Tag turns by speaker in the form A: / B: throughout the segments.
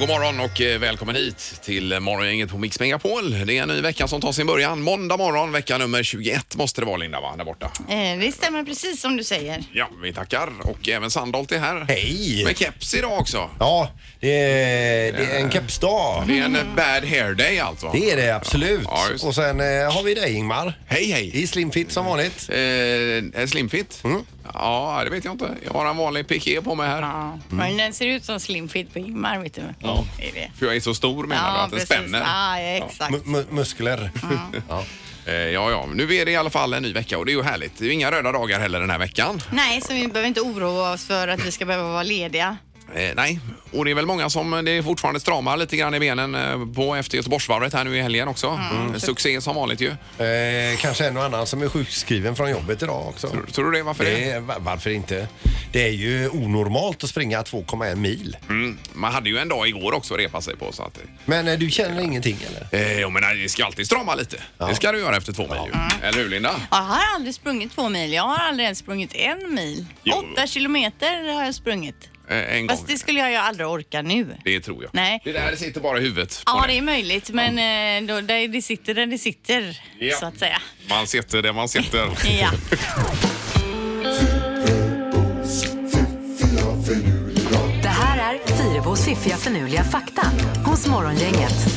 A: God morgon och eh, välkommen hit till Morgongänget på Mix Megapol. Det är en ny vecka som tar sin början. Måndag morgon, vecka nummer 21 måste det vara Linda, va? Där borta.
B: Eh, det stämmer precis som du säger.
A: Ja, vi tackar. Och även Sandholt är här.
C: Hej!
A: Med keps idag också.
C: Ja, det är, det är en kepsdag.
A: Det är en eh, bad hair day alltså.
C: Mm. Det är det absolut.
A: Ja, just det.
C: Och sen eh, har vi dig Ingmar.
A: Hej, hej.
C: I slimfit som vanligt.
A: Eh, är slimfit?
C: Mm.
A: Ja, det vet jag inte. Jag har en vanlig piké på mig här.
B: Ja. Men den ser ut som slimfit på Ingmar, vet du. Ja. Det är det.
A: För jag är så stor menar du? Att den spänner?
B: Ja, exakt.
C: Mu- mu- muskler. Ja.
A: Eh, ja, ja. Nu är det i alla fall en ny vecka och det är ju härligt. Det är ju inga röda dagar heller den här veckan.
B: Nej, så vi behöver inte oroa oss för att vi ska behöva vara lediga.
A: Eh, nej, och det är väl många som eh, det är fortfarande stramar lite grann i benen eh, på efter Göteborgsvarvet här nu i helgen också. Mm. Succé som vanligt ju.
C: Eh, kanske en och annan som är sjukskriven från jobbet idag också.
A: Tror- Tror du det? Varför det?
C: Det är, va- varför inte? Det är ju onormalt att springa 2,1 mil.
A: Mm. Man hade ju en dag igår också att repa sig på. Så att,
C: Men eh, du känner ingenting eller?
A: eh, jo, men nej, det ska alltid strama lite. Det ska du göra efter två mil ju.
B: Mm.
A: Eller hur Linda?
B: Jag har aldrig sprungit två mil. Jag har aldrig ens sprungit en mil.
A: Jo.
B: Åtta kilometer har jag sprungit.
A: Eh, en gång.
B: Fast det skulle jag ju aldrig orka nu.
A: Det tror jag.
B: Nej.
A: Det där sitter bara i huvudet. på
B: Ja,
A: dig.
B: det är möjligt, men eh, då, där det sitter där det sitter,
A: Ja.
B: så att säga.
A: Man sitter där man sitter.
B: Ja.
D: Det här är Fyrabos fiffiga förnuliga fakta hos Morgongänget.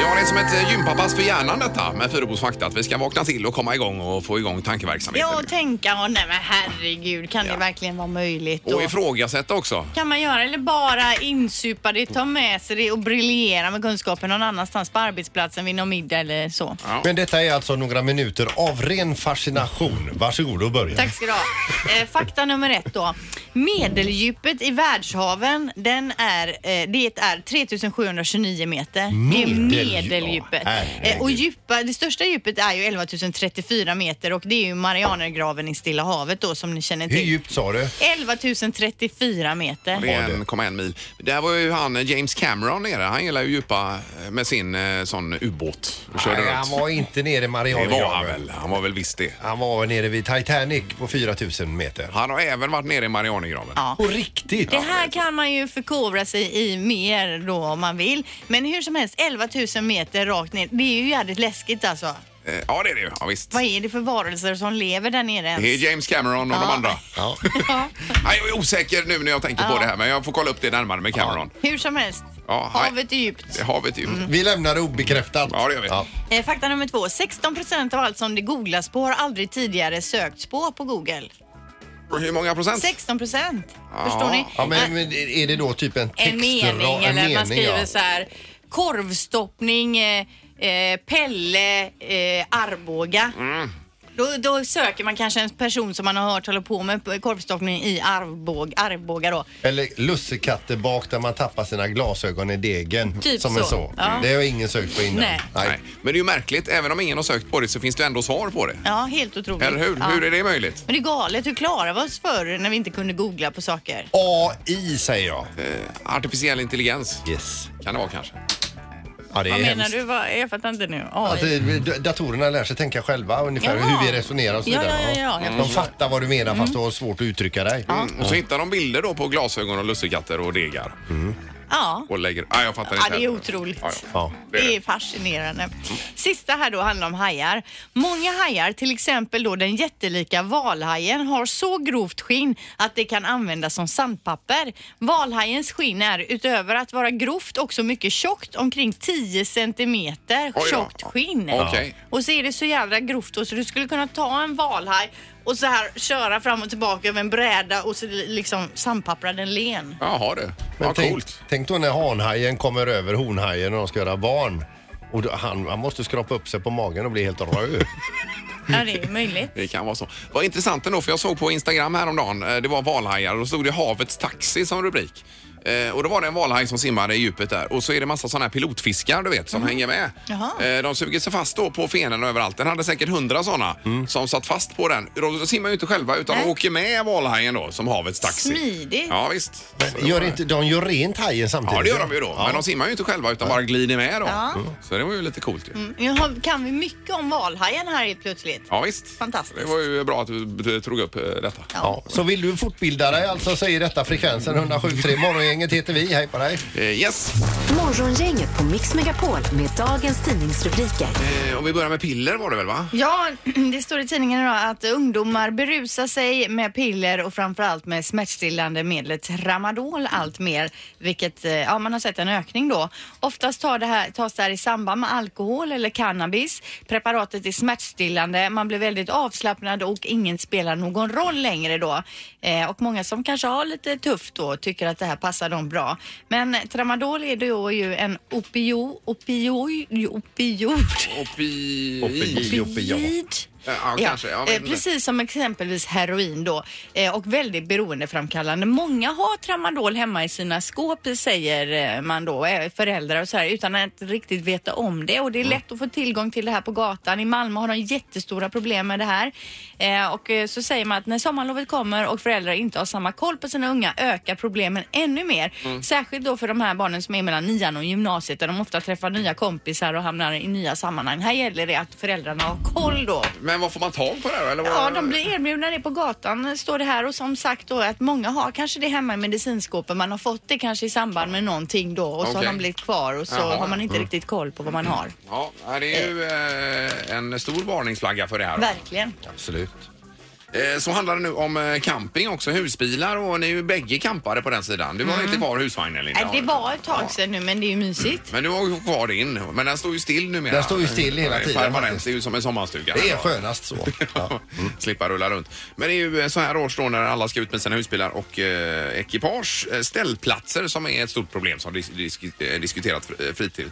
A: Ja, det är som ett eh, gympapass för hjärnan detta med Fyrabos fakta. Att vi ska vakna till och komma igång och få igång tankeverksamheten.
B: Jag tänka, åh nej men herregud, kan
A: Ja.
B: det verkligen vara möjligt?
A: och ifrågasätta också.
B: kan man göra eller bara insupa det, ta med sig det och briljera med kunskapen någon annanstans på arbetsplatsen vid någon middag eller så.
A: Ja.
C: Men detta är alltså några minuter av ren fascination. Varsågod och börja.
B: Tack ska du ha. Eh, fakta nummer ett då. Medeldjupet i världshaven, den är, eh, det är 3729 meter. Det är
C: Medeldjup-
B: medeldjupet.
C: Åh, herregud.
B: Eh, och djupa, det största djupet är ju 11 034 meter och det är ju Marianergraven i Stilla havet då som ni känner
C: Hur
B: till.
C: djupt sa du?
B: 11 034 meter.
A: Det är 1,1 mil. Där var ju han eh, James Cameron nere. Han gillar ju djupa eh, med sin eh, sån ubåt. Och körde
C: Nej,
A: runt.
C: han var inte nere i
A: Det
C: Marianergraven.
A: var han väl. Han var väl visst det.
C: Han var nere vid Titanic på 4000 meter.
A: Han har även varit nere i Marianergraven.
B: Ja.
C: På riktigt?
B: Det här kan man ju förkovra sig i mer då om man vill. Men hur som helst, 11 000 meter rakt ner. Det är ju jävligt läskigt alltså.
A: Eh, Ja, det är det ju. Ja, visst.
B: Vad är det för varelser som lever där nere ens?
A: Det är James Cameron och de
B: Ja.
A: andra.
C: Ja.
B: Ja.
A: Nej, jag är osäker nu när jag tänker på
B: Ja.
A: det här, men jag får kolla upp det närmare med Cameron.
B: Hur som helst,
A: Ja, hej.
B: havet är djupt.
A: Det har vi ju.
B: Mm.
C: Vi lämnar det obekräftat.
A: Ja, det gör vi.
B: Eh, Fakta nummer två. 16 procent av allt som det googlas på har aldrig tidigare sökts på på Google.
A: Hur många procent?
B: 16 procent.
A: Ja.
B: Förstår ni? Ah,
C: Ja, men, men är det då typ en text?
B: en mening eller man skriver så här korvstoppning eh, eh, Pelle eh, Arboga. Då, då söker man kanske en person som man har hört håller på med korvstoppning i Arboga, Arboga då.
C: Eller lussekattebak där man tappar sina glasögon i degen.
B: Typ
C: som
B: så.
C: en så.
B: Ja.
C: Det har ingen sökt på innan.
B: Nej.
A: Nej. Men det är ju märkligt. Även om ingen har sökt på det så finns det ändå svar på det.
B: Ja, helt otroligt.
A: Eller hur?
B: Ja.
A: Hur är det möjligt?
B: Men det är galet. Hur klarade vi oss förr när vi inte kunde googla på saker?
C: AI säger jag.
A: Eh, Artificiell intelligens
C: Yes.
A: kan det vara kanske.
C: Ja, det är
B: Vad menar
C: hemskt.
B: du? Vad- Jag fattar inte nu. AI.
C: Att det- d- datorerna lär sig tänka själva ungefär
B: Jaha.
C: hur vi resonerar och så
B: Ja,
C: vidare.
B: ja, ja, ja, jag
C: De fattar vad du menar fast du har svårt att uttrycka dig.
A: Mm. Och så hittar de bilder då på glasögon och lussekatter och degar.
C: Mm.
B: ja.
A: Och lägger... Nej, jag fattar
B: Ja,
A: inte.
B: det är
A: heller.
B: otroligt.
A: Ja, ja.
C: Ja.
B: Det är fascinerande.
A: Mm.
B: Sista här då handlar om hajar. Många hajar, till exempel då den jättelika valhajen, har så grovt skinn att det kan användas som sandpapper. Valhajens skinn är utöver att vara grovt också mycket tjockt, omkring 10 centimeter
A: Oj då.
B: tjockt skinn.
A: Okej.
B: Och så är det så jävla grovt då, så du skulle kunna ta en valhaj och så här köra fram och tillbaka över en bräda och så liksom sandpappra den len.
A: Jaha du.
C: Men
A: Ja,
C: tänk,
A: coolt.
C: tänk då när hanhajen kommer över honhajen och de ska göra barn. Och då, han, han måste skrapa upp sig på magen och bli helt röd.
B: Ja, det är möjligt.
A: Det kan vara så. Vad intressant ändå, för jag såg på Instagram häromdagen, eh, det var valhajar och då stod det havets taxi som rubrik. Eh, och då var det en valhaj som simmade i djupet där och så är det massa sådana här pilotfiskar du vet som hänger med.
B: Mm. Jaha.
A: Eh, de suger sig fast då på fenorna överallt. Den hade säkert hundra sådana
C: Mm.
A: som satt fast på den. De simmar ju inte själva utan
B: Nej.
A: de åker med valhajen då som havets taxi.
B: Smidigt.
A: Ja visst. Så det
C: Gör
A: var-
C: inte, de gör rent hajen samtidigt.
A: Ja det gör de ju då.
C: Ja.
A: Men de simmar ju inte själva utan bara glider med då. Mm.
B: Ja. Mm.
A: Så det var ju lite coolt ju.
B: Nu har- kan vi mycket om valhajen här helt plötsligt.
A: Ja visst.
B: Fantastiskt.
A: Det var ju bra att du tog upp eh, detta.
C: Ja. Så vill du fortbilda dig alltså så är detta frekvensen 107.3. Morgongänget heter vi. Hej på dig.
A: Eh, yes.
D: Morgongänget på Mix Megapol med dagens tidningsrubriker.
A: Eh, om vi börjar med piller var det väl va?
B: Ja, det står i tidningen idag att ungdomar berusar sig med piller och framförallt med smärtstillande medlet tramadol allt mer, vilket eh, ja, man har sett en ökning då. Oftast tar det här, tas det här i samband med alkohol eller cannabis. Preparatet är smärtstillande, man blir väldigt avslappnad och ingen spelar någon roll längre då. Eh, och många som kanske har lite tufft då tycker att det här passar dem bra. Men tramadol är då ju en opio, opioid, opioid.
A: Opi...
C: Opi-
B: Opioid.
A: Ja, kanske. Ja, men-
B: eh, precis som exempelvis heroin då eh, och väldigt beroendeframkallande. Många har tramadol hemma i sina skåp säger eh, man då, eh, föräldrar och så här utan att riktigt veta om det och det är lätt att få tillgång till det här på gatan. I Malmö har de jättestora problem med det här eh, och eh, så säger man att när sommarlovet kommer och föräldrar inte har samma koll på sina unga ökar problemen ännu mer. Särskilt då för de här barnen som är mellan nian och gymnasiet där de ofta träffar nya kompisar och hamnar i nya sammanhang. Här gäller det att föräldrarna har koll då
A: Men vad får man tag på det här då, eller vad?
B: Ja, de blir erbjudna det på gatan står det här och som sagt då att många har kanske det hemma i medicinskåpen. Man har fått det kanske i samband med någonting då och så har
A: Okej.
B: de blivit kvar och så
A: Jaha. Mm.
B: har man inte riktigt koll på vad man har.
A: Ja, det är ju eh, en stor varningsflagga för det här.
B: Verkligen.
C: Absolut.
A: Eh, så handlar det nu om eh, camping också, husbilar och ni är ju bägge campare på den sidan. Du var inte kvar i husvagnen Linda?
B: Mm. Nej, det var ett tag sedan nu men det är ju mysigt.
A: Men du har ju kvar din, men den står ju still numera.
C: Den står ju still hela
A: Ja, det är
C: tiden,
A: Permanent,
C: faktiskt.
A: det är ju som en sommarstuga.
C: Det är skönast så. Ja.
A: Slippa rulla runt. Men det är ju eh, så här års då när alla ska ut med sina husbilar och eh, ekipage. Eh, ställplatser som är ett stort problem som dis- disk- eh, diskuterat eh, fritid.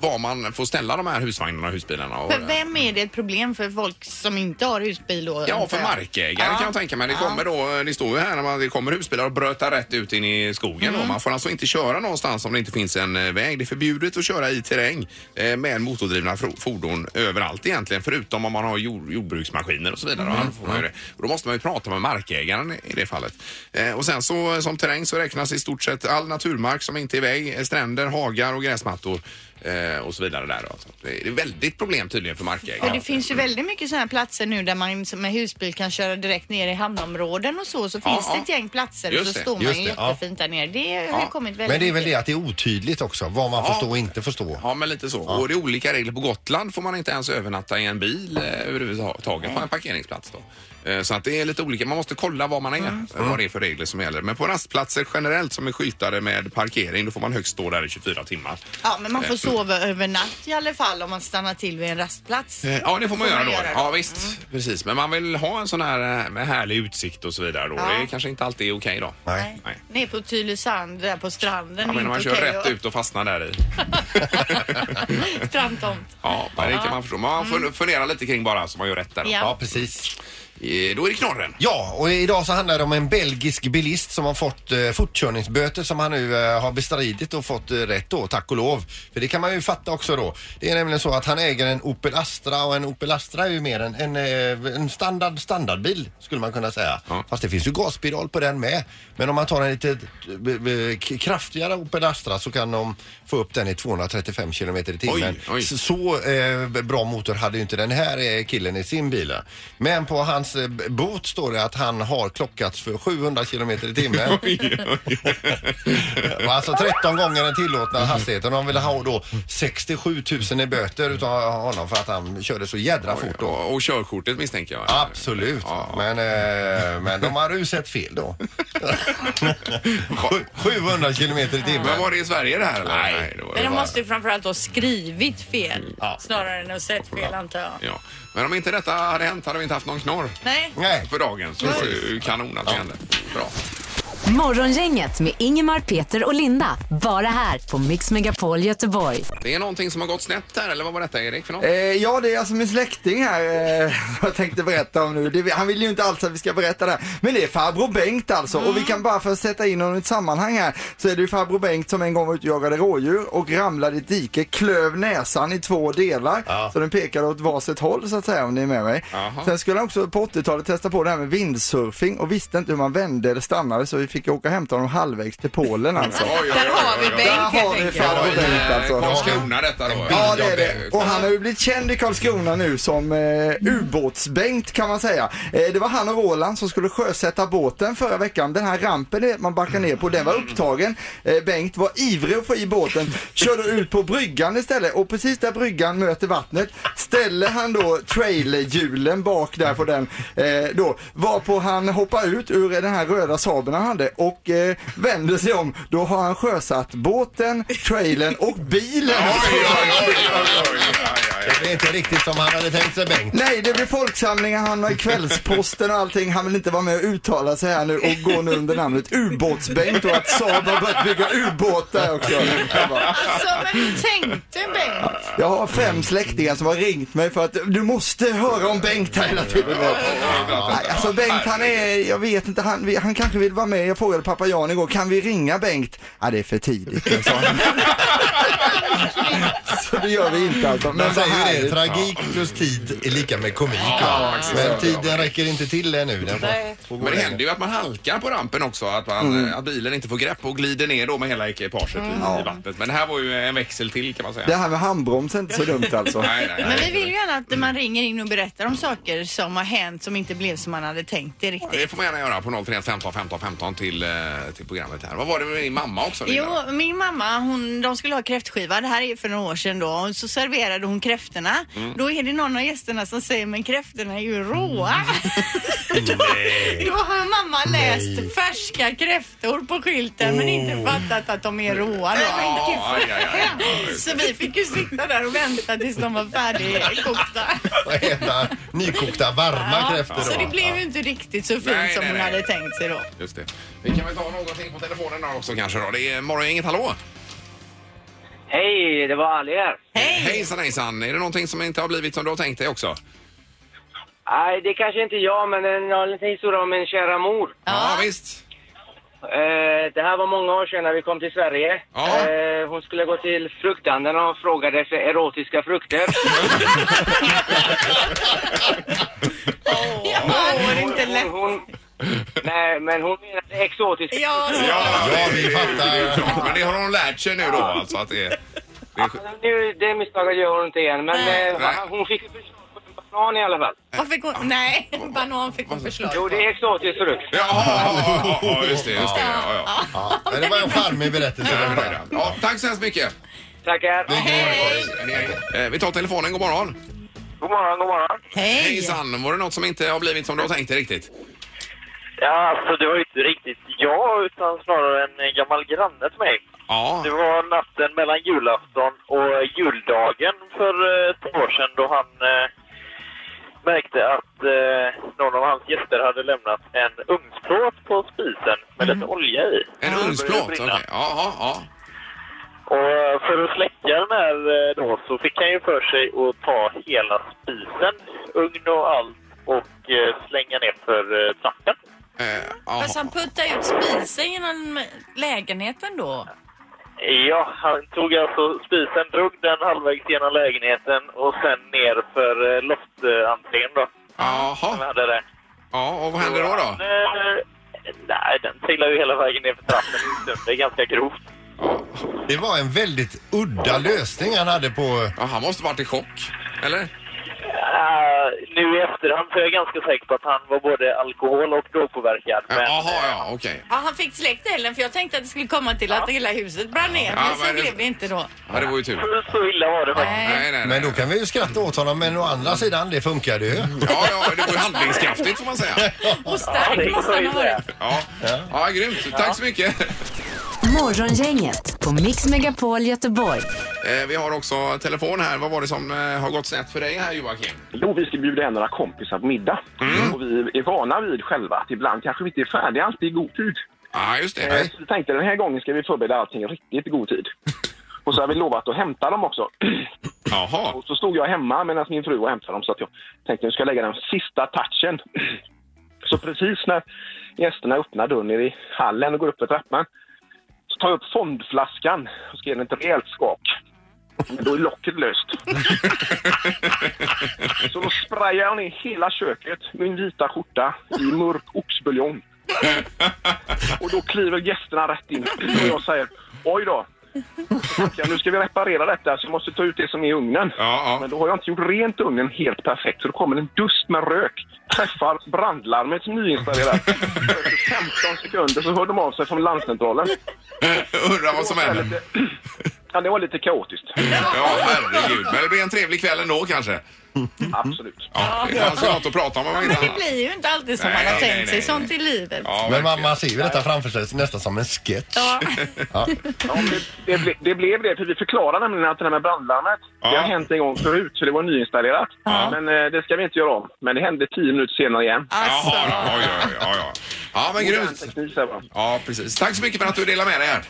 A: Var man får ställa de här husvagnarna och husbilarna. Och,
B: För vem är det ett problem för folk som inte har husbil då?
A: Ja, för
B: antar jag?
A: markägare
B: Ja.
A: kan jag tänka mig. Det, kommer då, det står ju här när man, det kommer husbilar och brötar rätt ut in i skogen.
B: Mm.
A: Då. Man får alltså inte köra någonstans om det inte finns en eh, väg. Det är förbjudet att köra i terräng eh, med motordrivna fro- fordon överallt egentligen förutom om man har jord, jordbruksmaskiner och så vidare.
B: Mm.
A: Då, får man ju det. Och då måste man ju prata med markägaren i det fallet. Eh, och sen så eh, som terräng så räknas i stort sett all naturmark som inte är väg, eh, stränder, hagar och gräsmattor eh, och så vidare där. Då. Så det är väldigt problem tydligen för
B: För
A: markägare.
B: det finns ju väldigt mycket sådana här platser nu där man som med husbil kan köra direkt ner i hamnområden och så. Så
A: Ja,
B: finns det
A: ja.
B: ett gäng platser
A: Just
B: och så
A: det,
B: står man
C: just
B: ju
C: det, ja.
B: jättefint där nere. Det har ju
A: Ja.
B: kommit väldigt
C: Men det är väl
B: mycket.
C: det att det är otydligt också vad man
A: Ja.
C: förstår och inte förstår.
A: Ja, men lite så. Och det är olika regler. På Gotland får man inte ens övernatta i en bil eh, överhuvudtaget på en parkeringsplats. Då. Eh, Så att det är lite olika. Man måste kolla var man är,
C: Mm.
A: eh, vad det är för regler som gäller. Men på rastplatser generellt som är skyltade med parkering, då får man högst stå där i 24 timmar.
B: Ja, men man får
A: Eh,
B: sova över natt i alla fall om man stannar till vid en rastplats.
A: eh, Ja, det får man
B: Får
A: göra
B: man
A: då.
B: göra det?
A: Ja, visst. Precis. Men man vill ha en sån här eh, med härlig utsikt och så vidare. Då. Det är kanske inte alltid är okej då.
C: Nej.
A: Nej.
B: Ner på Tylösand, där på stranden.
A: Ja, men
B: inte
A: man kör
B: okej
A: rätt
B: att-
A: ut och fastnar där i.
B: Strandtomt.
A: Ja, men det kan man förstå. Man får fundera lite kring bara så man gör rätt där. Då,
B: Ja.
C: Ja, precis.
A: Eh, då är det knorren.
C: Ja, och idag så handlar det om en belgisk bilist som har fått eh, fortkörningsböter som han nu eh, har bestridit och fått eh, rätt då, tack och lov. För det kan man ju fatta också då. Det är nämligen så att han äger en Opel Astra och en Opel Astra är ju mer en, en, eh, en standard standardbil skulle man kunna säga.
A: Ja.
C: Fast det finns ju gaspedal på den med. Men om man tar en lite eh, b- b- k- kraftigare Opel Astra så kan de få upp den i 235 km i timmen.
A: oj.
C: Så- så eh, bra motor hade ju inte den här eh, killen i sin bil. Men på hans eh, bot står det att han har klockats för 700 km i timmen. alltså 13 gånger den tillåtna hastigheten. De ville ha då 67 000 i böter utav honom för att han körde så jädra fort då.
A: Och, och körkortet misstänker jag.
C: Absolut, men, eh, men de har ju sett fel då. Sju- 700 km i
A: Men
C: timmen.
A: var det i Sverige det här eller?
C: Nej.
A: det var
B: Men
A: det
B: de
A: bara-
B: måste ju framförallt ha skrivit fel
C: Ja.
B: snarare än att sett fel antar jag.
A: Ja. Men om inte detta hade hänt hade vi inte haft någon knorr
B: Nej.
C: Nej.
A: för dagen. Så det var ju kanon att det hände. Bra.
D: Morgongänget med Ingemar, Peter och Linda. Bara här på Mix Megapol Göteborg.
A: Det är någonting som har gått snett här, eller vad var detta Erik för något?
E: Eh, ja, det är alltså min släkting här eh, som jag tänkte berätta om nu. Det, han vill ju inte alls att vi ska berätta det här. Men det är farbror Bengt alltså. Och vi kan bara för att sätta in honom i ett sammanhang här. Så är det ju farbror Bengt som en gång var ute och jagade rådjur och ramlade i ett dike, klöv näsan i två delar.
A: Ja.
E: Så den pekade åt varsitt håll så att säga om ni är med mig.
A: Jaha.
E: Sen skulle han också på 80-talet testa på det här med windsurfing och visste inte hur man vände eller stannade så vi fick åka och hämta honom halvvägs till Polen alltså.
A: Oj, oj, oj,
B: Där har vi
A: oj, oj.
B: Bengt
E: Där har
B: helt enkelt.
E: vi farbror
A: Det
E: Bengt
A: var ju, eh,
E: alltså.
A: Karlskrona detta då.
E: Ja det är det. Och han har ju blivit känd i Karlskrona nu som eh, ubåtsbänkt kan man säga. Eh, det var han och Roland som skulle sjösätta båten förra veckan. Den här rampen ni vet, man backar ner på, den var upptagen. Eh, Bengt var ivrig att få i båten, körde ut på bryggan istället och precis där bryggan möter vattnet ställer han då trailerhjulen bak där på den eh, då. Varpå han hoppar ut ur den här röda sabeln han hade och eh, vänder sig om. Då har han sjösatt båten, trailern och bilen.
A: Oj, oj, oj, oj, oj, oj, oj.
C: Det är inte riktigt som han hade tänkt sig Bengt.
E: Nej, det blir folksamlingar, han har i kvällsposten och allting. Han vill inte vara med och uttala sig här nu och gå nu under namnet ubåtsbänk och att Saab har börjat bygga ubåtar också. Jag, bara,
B: Alltså, men hur tänkte Bengt?
E: jag har fem släktingar som har ringt mig för att du måste höra om Bengt här hela tiden. Nej, Alltså Bengt han är, jag vet inte, han, han kanske vill vara med. Jag frågade pappa Jan igår, kan vi ringa Bengt? Ja det är för tidigt, sa han. Så det gör vi inte alltså.
C: Man
E: vad
C: säger ju det,
E: härligt.
C: tragik plus tid är lika med komik. va? Men tiden räcker inte till ännu. Den får- får gå
A: Men det
C: längre.
A: händer ju att man halkar på rampen också, att, man,
E: Mm.
A: att bilen inte får grepp och glider ner då med hela ekipaget i, i vattnet. Men det här var ju en växel till kan man säga.
E: Det här med handbroms är inte så dumt alltså.
A: Nej, nej,
B: Men vi
A: nej.
B: vill ju gärna att man ringer in och berättar om saker som har hänt som inte blev som man hade tänkt det riktigt.
A: Det får man gärna göra på 031 15 15 15 till, eh, till programmet här. Vad var det med din mamma också? Linda?
B: Jo, min mamma, hon, de skulle ha kräftskiva. Det här är för några år sedan då. Och så serverade hon kräftorna.
A: Mm.
B: Då är det någon av gästerna som säger, men kräftorna är ju råa.
A: Mm.
B: då, då har mamma läst färska kräftor på skylten men inte fattat att de är råa då.
A: Ja, aj, aj, aj.
B: Så vi fick ju sitta där och vänta tills de var färdigkokta.
C: Och äta nykokta varma kräftor
B: Så det
C: då.
B: blev ju inte riktigt så fint
A: Nej,
B: som
A: nej,
B: hon
A: nej.
B: hade tänkt sig då.
A: Just det. Vi kan väl ta någonting på telefonen då också kanske då. Det är morgongänget, hallå!
F: Hej, det var Ali här.
B: Hej!
A: Hejsan hejsan! Är det någonting som inte har blivit som du har tänkt dig också?
F: Nej, det kanske inte jag, men en har en liten historia om min kära mor.
A: Ja, visst.
F: Eh, det här var många år sedan när vi kom till Sverige.
A: Ja.
F: Eh, hon skulle gå till frukthandeln och frågade efter erotiska frukter.
B: Ja, det var inte lätt.
F: Hon, hon, nej, men hon menade exotiska.
B: Ja,
C: Ja,
A: det-
C: vi fattar.
A: det är ju klart. Men det har hon lärt sig nu då alltså att det, det är... sk-
F: Nu, det misstaget gör hon inte igen, men
B: Nej.
F: eh,
A: Nej.
F: hon fick ju förslag på en banan i alla fall.
B: Vad fick hon? Nej, banan fick hon förslag
F: Jo, det är exotisk frukt.
A: Jaha, ja, ja, ja, just det, just det. Ja, ja.
C: Men det var en charmig berättelse. det var det.
A: Ja, tack så hemskt mycket.
F: Tackar.
A: Eh, Vi tar telefonen, god morgon.
F: God morgon, god morgon.
B: Hej!
A: Hejsan, var det något som inte har blivit som du har tänkt dig riktigt?
F: Ja, alltså det var ju inte riktigt jag, utan snarare en eh, gammal granne till mig.
A: Ja,
F: Det var natten mellan julafton och juldagen för eh, ett år sedan då han eh, märkte att eh, någon av hans gäster hade lämnat en ugnsplåt på spisen med lite olja i.
A: Mm. en
F: Den
A: ugnsplåt.
F: började
A: Okej,
F: brinna.
A: ja, ja, ja.
F: Och eh, för att släcka den här eh, då så fick han ju för sig att ta hela spisen, ugn och allt och eh, slänga ner för eh, trappen.
A: Eh, jaha.
B: Fast han puttade ut spisen genom lägenheten då.
F: Ja, han tog alltså spisen, drog den halvvägs genom lägenheten och sen ner för eh, loftentrén då. Som vi
A: Jaha,
F: hade det.
A: ja, och vad händer då? då?
F: Eh, Nej, den trillade ju hela vägen ner för trappen. ut. Det är ganska grovt.
C: Det var en väldigt udda lösning han hade på...
A: Ja, han måste varit i chock, eller?
F: Eh, nu i efterhand så är jag ganska säker på att han var både alkohol och drogpåverkad. Men
A: Jaha, ja, okej.
B: Ja, han fick släckt elden för jag tänkte att det skulle komma till att hela huset brann ner.
A: Ja,
B: Men så
A: men det-
B: blev det inte då.
A: Ja, det var ju tur.
F: eh, så- så illa var det faktiskt.
A: Nej, nej,
C: Men
A: nej.
C: då kan vi ju skratta åt honom, men å andra sidan, det funkade ju.
A: Ja, ja, det var ju handlingskraftigt får man säga.
B: Och
F: Ja, det
B: stark
F: är
B: måste han ha
F: så illa.
B: varit.
A: Ja, ja grymt. Tack så mycket.
D: Morgongänget på Mix Megapol Göteborg.
A: Eh, Vi har också telefon här. Vad var det som eh, har gått snett för dig här Joakim?
G: Jo, vi ska bjuda hem några
B: Mm.
G: kompisar på middag. Och vi är vana vid själva att ibland kanske vi inte är färdiga alltid i god tid.
A: Ja, just det.
F: Eh, Så tänkte den här gången ska vi förbereda allting riktigt i god tid. Och så har vi lovat att hämta dem också.
A: Jaha.
F: Och så stod jag hemma medan min fru var och hämtade dem så att jag tänkte att jag ska lägga den sista touchen. Så precis när gästerna öppnar dörren nere i hallen och går upp för trappan så tar jag upp fondflaskan och ska ge den ett rejält skak. Men då är locket löst. Så då sprayar jag ner hela köket, min vita skjorta, i mörk oxbuljong. Och då kliver gästerna rätt in och jag säger oj då. Ja, nu ska vi reparera detta så vi måste ta ut det som är i ugnen.
A: Ja, ja.
F: Men då har jag inte gjort rent ugnen helt perfekt så då kommer en dust med rök. Träffar brandlarmet nyinstallerat. Efter 15 sekunder så hör de av sig från larmcentralen.
A: Undrar vad som
F: Det var
A: händer.
F: lite- Ja, det var lite kaotiskt.
A: Ja, herregud. Men det blir en trevlig kväll ändå kanske.
F: Absolut.
A: Ja, det är alltså något att prata om. om
B: Men
A: inte
B: det
A: annat.
B: blir ju inte alltid som
A: Nej,
B: man
A: nej,
B: har tänkt
A: nej,
B: sig.
A: nej.
B: Sånt i livet.
A: Ja,
C: Men man,
A: verkligen.
C: man ser ju detta framför sig nästan som en sketch.
B: Ja.
F: Ja, det, det, ble- det blev det, för vi förklarar nämligen att det här med brandlarmet, det
A: Ja.
F: har hänt en gång förut, så det var nyinstallerat. Men eh, det ska vi inte göra om. Men det hände tio minuter senare igen.
B: Alltså.
A: Jaha, ja, ja, ja, ja. Ja, men
F: Modern
A: grymt.
F: teknik, säger man.
A: Ja, precis. Tack så mycket för att du delade med dig här.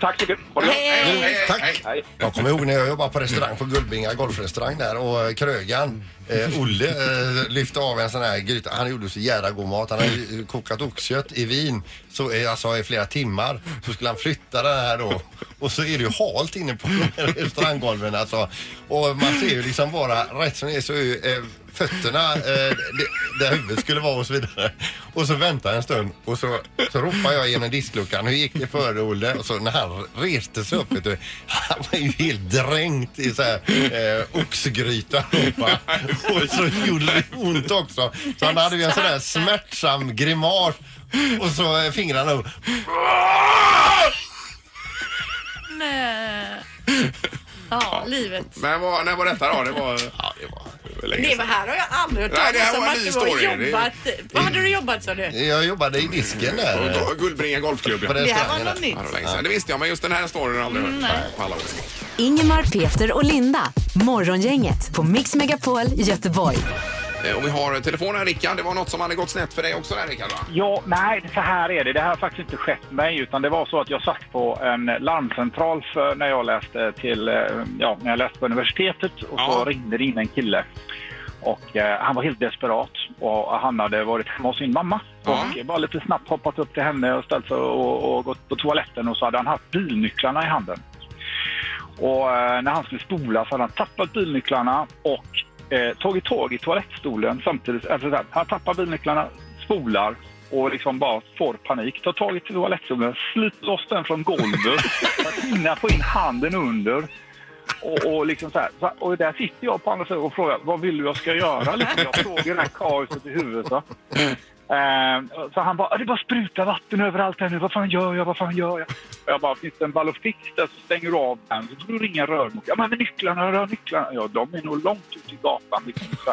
F: Tack så mycket. Ha det gott.
B: Hej, hej.
C: Tack.
F: Hej.
C: Jag kommer ihåg när jag jobbade på restaurang på Guldbinga golfrestaurang där och eh, krögan eh, Olle eh, lyfte av en sån här gryta. Han gjorde så jävla god mat. Han hade ju kokat oxkött i vin så, eh, alltså, i flera timmar. Så skulle han flytta den här då och så är det ju halt inne på restauranggolven alltså. Och man ser ju liksom bara rätt som det är så är ju, eh, fötterna eh, det- där huvudet skulle vara och så vidare. Och så väntar jag en stund och så, så ropar jag genom diskluckan. Hur gick det för dig, Olle? Och så när han reste sig upp, vet du, han var ju helt dränkt i så här eh, oxgryta. va? Och så gjorde det ont också. Så han hade ju en sån där smärtsam grimas och så eh, fingrarna upp.
B: Nej. Ja, livet.
A: Men vad, när var detta då? Det var...
C: Ja, det var...
A: det var länge
B: Det
A: sedan.
B: var här har jag aldrig hört
A: Nej, det här
B: talas om
A: var en
B: att
A: ny story. Det-
B: du har jobbat. Vad hade du jobbat sa du?
C: Jag jobbade i disken där. eh,
A: Och då- Guldbringa golfklubb.
C: på
A: ja.
B: Det här
C: restaurangen
B: var
C: där.
A: Ja,
B: något
A: det
B: nytt.
A: var länge sedan. Det visste jag, men just den här storyn har jag aldrig hört. på alla år.
D: Ingemar, Peter och Linda. Morgongänget på Mix Megapol Göteborg.
A: Eh, Och vi har telefonen, Rickard. Det var något som hade gått snett för dig också där, Rickard, va?
G: Ja, nej, så här är det. Det här har faktiskt inte skett mig, utan det var så att jag satt på en larmcentral för när jag läste till, eh, ja, när jag läste på universitetet och
A: Ja.
G: så ringde det in en kille. Och eh, han var helt desperat och han hade varit hemma hos sin mamma
A: Ja.
G: och bara lite snabbt hoppat upp till henne och ställt sig och, och gått på toaletten och så hade han haft bilnycklarna i handen. Och eh, när han skulle spola så hade han tappat bilnycklarna och eh, tagit tag i toalettstolen samtidigt. Alltså, så här, han tappar bilnycklarna, spolar och liksom bara får panik. Tar tag i toalettstolen, sliter loss den från golvet, för hinna få in handen under. Och, och, liksom så här, Så- och där sitter jag på andra sidan och frågar vad vill du jag ska göra? Liksom, jag såg ju det här kaoset i huvudet. Va? Eh, så han bara, "Ah, det bara sprutar vatten överallt här nu. Vad fan gör jag? Vad fan gör jag? Och jag bara, finns det en ballofix där så stänger du av den. Så får du ringa rörmokaren. Ja, men med nycklarna, rör nycklarna. Ja, de är nog långt ut i gatan. Liksom. Så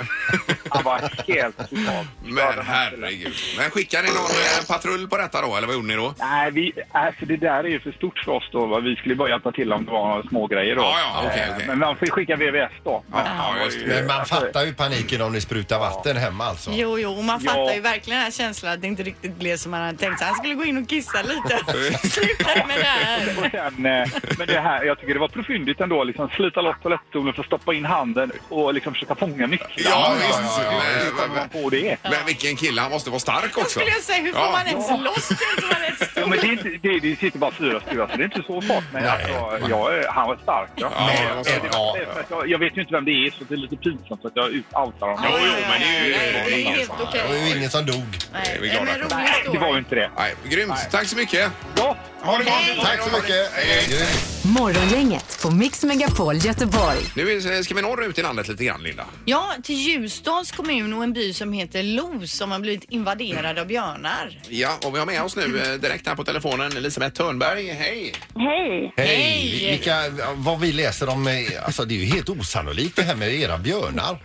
G: han var helt totalt
A: Men herregud. Men skickade ni någon eh, patrull på detta då, eller vad gjorde ni då?
G: Nej, vi, alltså det där är ju för stort för oss då. Va? Vi skulle bara hjälpa till om det var några små grejer då.
A: Ja, ja, okej,
G: Eh,
A: okej.
G: Men man får ju skicka VVS då. Men han var
A: ja, just
G: ju-
A: det.
C: Men man fattar ju paniken om ni sprutar vatten hemma alltså.
B: Jo, jo, man fattar
G: Ja.
B: ju verkligen den här känslan att det inte riktigt blev som man hade tänkt sig. Han skulle gå in och kissa lite. Sluta med det här.
G: Och sen, eh, men det här, jag tycker det var profyndigt ändå. Liksom, slita loss toalettstolen för att stoppa in handen och liksom försöka fånga nycklarna.
A: Ja,
G: Hur
A: visst. Men,
G: kommer man
A: men,
G: på det?
A: men vilken kille, han måste vara stark
B: Då
A: också.
B: skulle jag säga, hur får
A: Ja.
B: man ens loss den
G: Ja, men
B: toalettstolen?
G: det, är inte, det, det sitter bara fyra stycken, så det är inte så farligt. Men alltså, jag, är- han var stark. Ja.
A: Ja, alltså- det var så.
G: Eh, det var- det är för att jag, jag vet ju inte vem det är, så det är lite pinsamt att jag outar honom.
A: Jo, jo, men det är ju-
B: Ja, ja, ja, ja,
A: det är
B: Det är
A: ingen
B: helt
C: Det var
B: okej.
C: ju ingen som dog.
A: Det är
B: Nej,
A: vi
B: men
A: glada
B: rolig
A: för.
G: Nej, det var ju
B: story.
G: inte det.
A: Nej, grymt. Tack så mycket.
G: Ja,
A: Ha det
B: Hej.
A: gott.
C: Tack så mycket. Grymt.
D: Morgongänget på Mix Megapol Göteborg.
A: Nu är- ska vi norrut i landet lite grann, Linda.
B: Ja, till Ljusdals kommun och en by som heter Los som har blivit invaderad av björnar.
A: Ja, och vi har med oss nu eh, direkt här på telefonen Elisabeth Törnberg. Hej!
H: Hej!
C: Hej! Vi- Vilka, vad vi läser om, eh, alltså det är ju helt osannolikt det här med era björnar.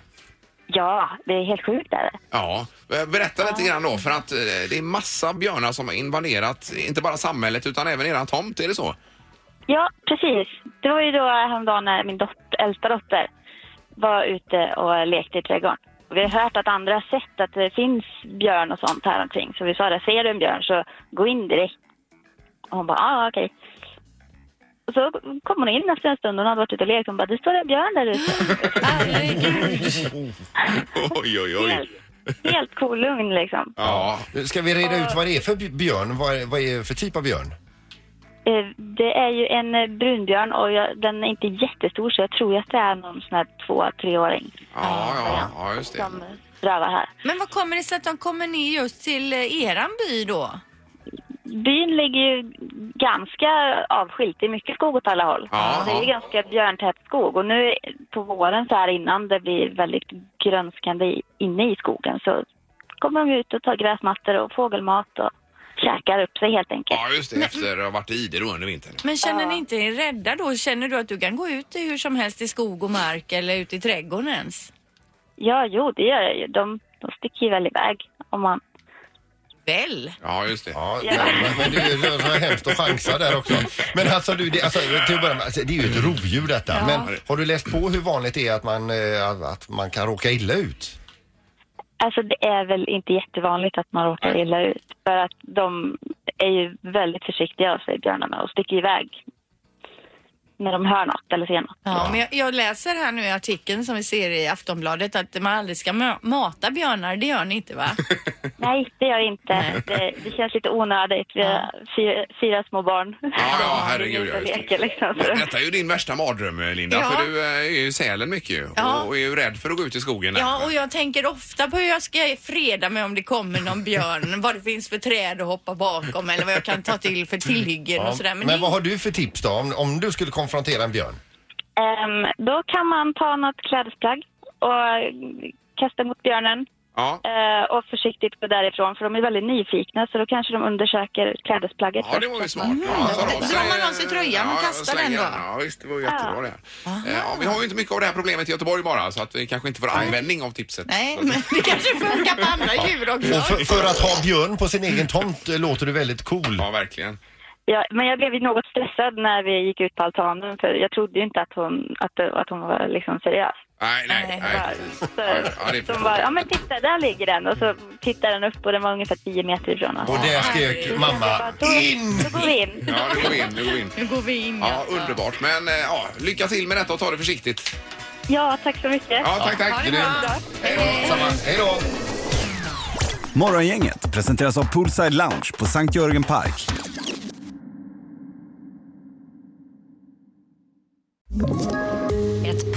H: Ja, det är helt sjukt där.
A: Ja, eh, berätta lite grann då för att eh, det är massa björnar som har invaderat inte bara samhället utan även eran tomt, är det så?
H: Ja, precis. Det var ju då häromdagen när min dot- äldsta dotter var ute och lekte i trädgården. Och Vi har hört att andra har sett att det finns björn och sånt här omkring. Så vi sa det, ser du en björn så gå in direkt.
G: Och hon bara, ja ah, okej. Och så kom hon in efter en stund, hon hade varit ute och lekt. Hon bara, det står en björn där ute.
A: Oj, oj, oj.
G: Helt, helt cool, lugn liksom.
A: Ja,
C: Ska vi reda ut vad det är för björn? Vad är, vad är det för typ av björn?
G: Eh, Det är ju en eh, brunbjörn och jag, den är inte jättestor så jag tror att det är någon sån här två, treåring
A: ja, ja, ja just det.
G: som eh, strövar här.
B: Men vad kommer det sig att de kommer ner just till eh, eran by då?
G: Byn ligger ju ganska avskilt. Det är mycket skog åt alla håll.
A: Ja.
G: Och Det är ju ganska björntät skog. Och nu på våren så här innan det blir väldigt grönskande i- inne i skogen så kommer de ut och tar gräsmattor och fågelmat och käkar upp sig helt enkelt.
A: Ja, just det. Efter att ha varit i det då under vintern.
B: Men känner ni inte er rädda då? Känner du att du kan gå ut i hur som helst i skog och mark eller ut i trädgården ens?
G: Ja, jo, det gör det ju. De, de sticker ju väl iväg om man...
B: Väl?
A: Ja, just det.
C: Ja, men- men det är ju så hemskt att chansa där också. Men alltså, du, det, alltså, till att börja med, alltså, det är ju ett rovdjur detta. Men har du läst på hur vanligt det är att man, eh, att man kan råka illa ut?
G: Alltså det är väl inte jättevanligt att man råkar illa ut. För att de är ju väldigt försiktiga av sig, björnarna, och sticker iväg när de hör något eller ser något.
B: Ja, men jag, jag läser här nu i artikeln som vi ser i Aftonbladet att man aldrig ska ma- mata björnar. Det gör ni inte va?
G: Nej, det gör jag inte. Det, det känns lite onödigt. Vi har fyra, fyra små barn.
A: Ja, ja, herregud. Ja,
G: Och
A: just det.
G: leker liksom. Så.
A: Men Detta är ju din värsta mardröm, Linda,
B: Ja.
A: för du eh, är ju i Sälen mycket ju,
B: Ja.
A: och är ju rädd för att gå ut i skogen. där.
B: Ja, och jag tänker ofta på hur jag ska freda mig om det kommer någon björn. vad det finns för träd att hoppa bakom eller vad jag kan ta till för tillhyggen och sådär.
C: men
B: Men, det-
C: vad har du för tips då? Om, om du skulle konfrontera en björn?
G: Ehm, då kan man ta något klädesplagg och kasta mot björnen
A: ja.
G: eh, och försiktigt gå därifrån för de är väldigt nyfikna så då kanske de undersöker klädesplagget
A: Ja, det var ju smart. Ja, tar av
B: Drar Mm. man av sig tröjan och kastar
A: slänger
B: den då? Ah.
A: Ja, visst, det var ju jättebra det. här. Eh, Ja, vi har ju inte mycket av det här problemet i Göteborg bara, så att vi kanske inte får användning av tipset.
B: Nej,
A: Så att-
B: men det kanske funkar på andra djur
C: Och
B: också.
C: för, för att ha björn på sin egen tomt eh, låter du väldigt cool.
A: Ja, verkligen.
G: Ja, men jag blev ju något stressad när vi gick ut på altanen för jag trodde ju inte att hon, att, att hon var liksom seriös.
A: Nej, nej,
B: Nej.
A: nej. precis. Ja, det är
G: Så de bara, ja men titta där ligger den och så tittar den upp och den var ungefär 10 meter ifrån oss.
C: Och där skrek mamma in!
G: Då går vi in.
A: Ja, nu går vi in, nu går vi in.
B: Nu går vi in.
A: Ja, underbart. Men eh, ja, lycka till med detta och ta det försiktigt.
G: Ja, tack så mycket.
A: Ja, tack, tack.
B: Ha det bra.
C: Samma. Hej då!
I: Morgongänget presenteras av Poolside Lounge på Sankt Jörgen Park.
D: Ett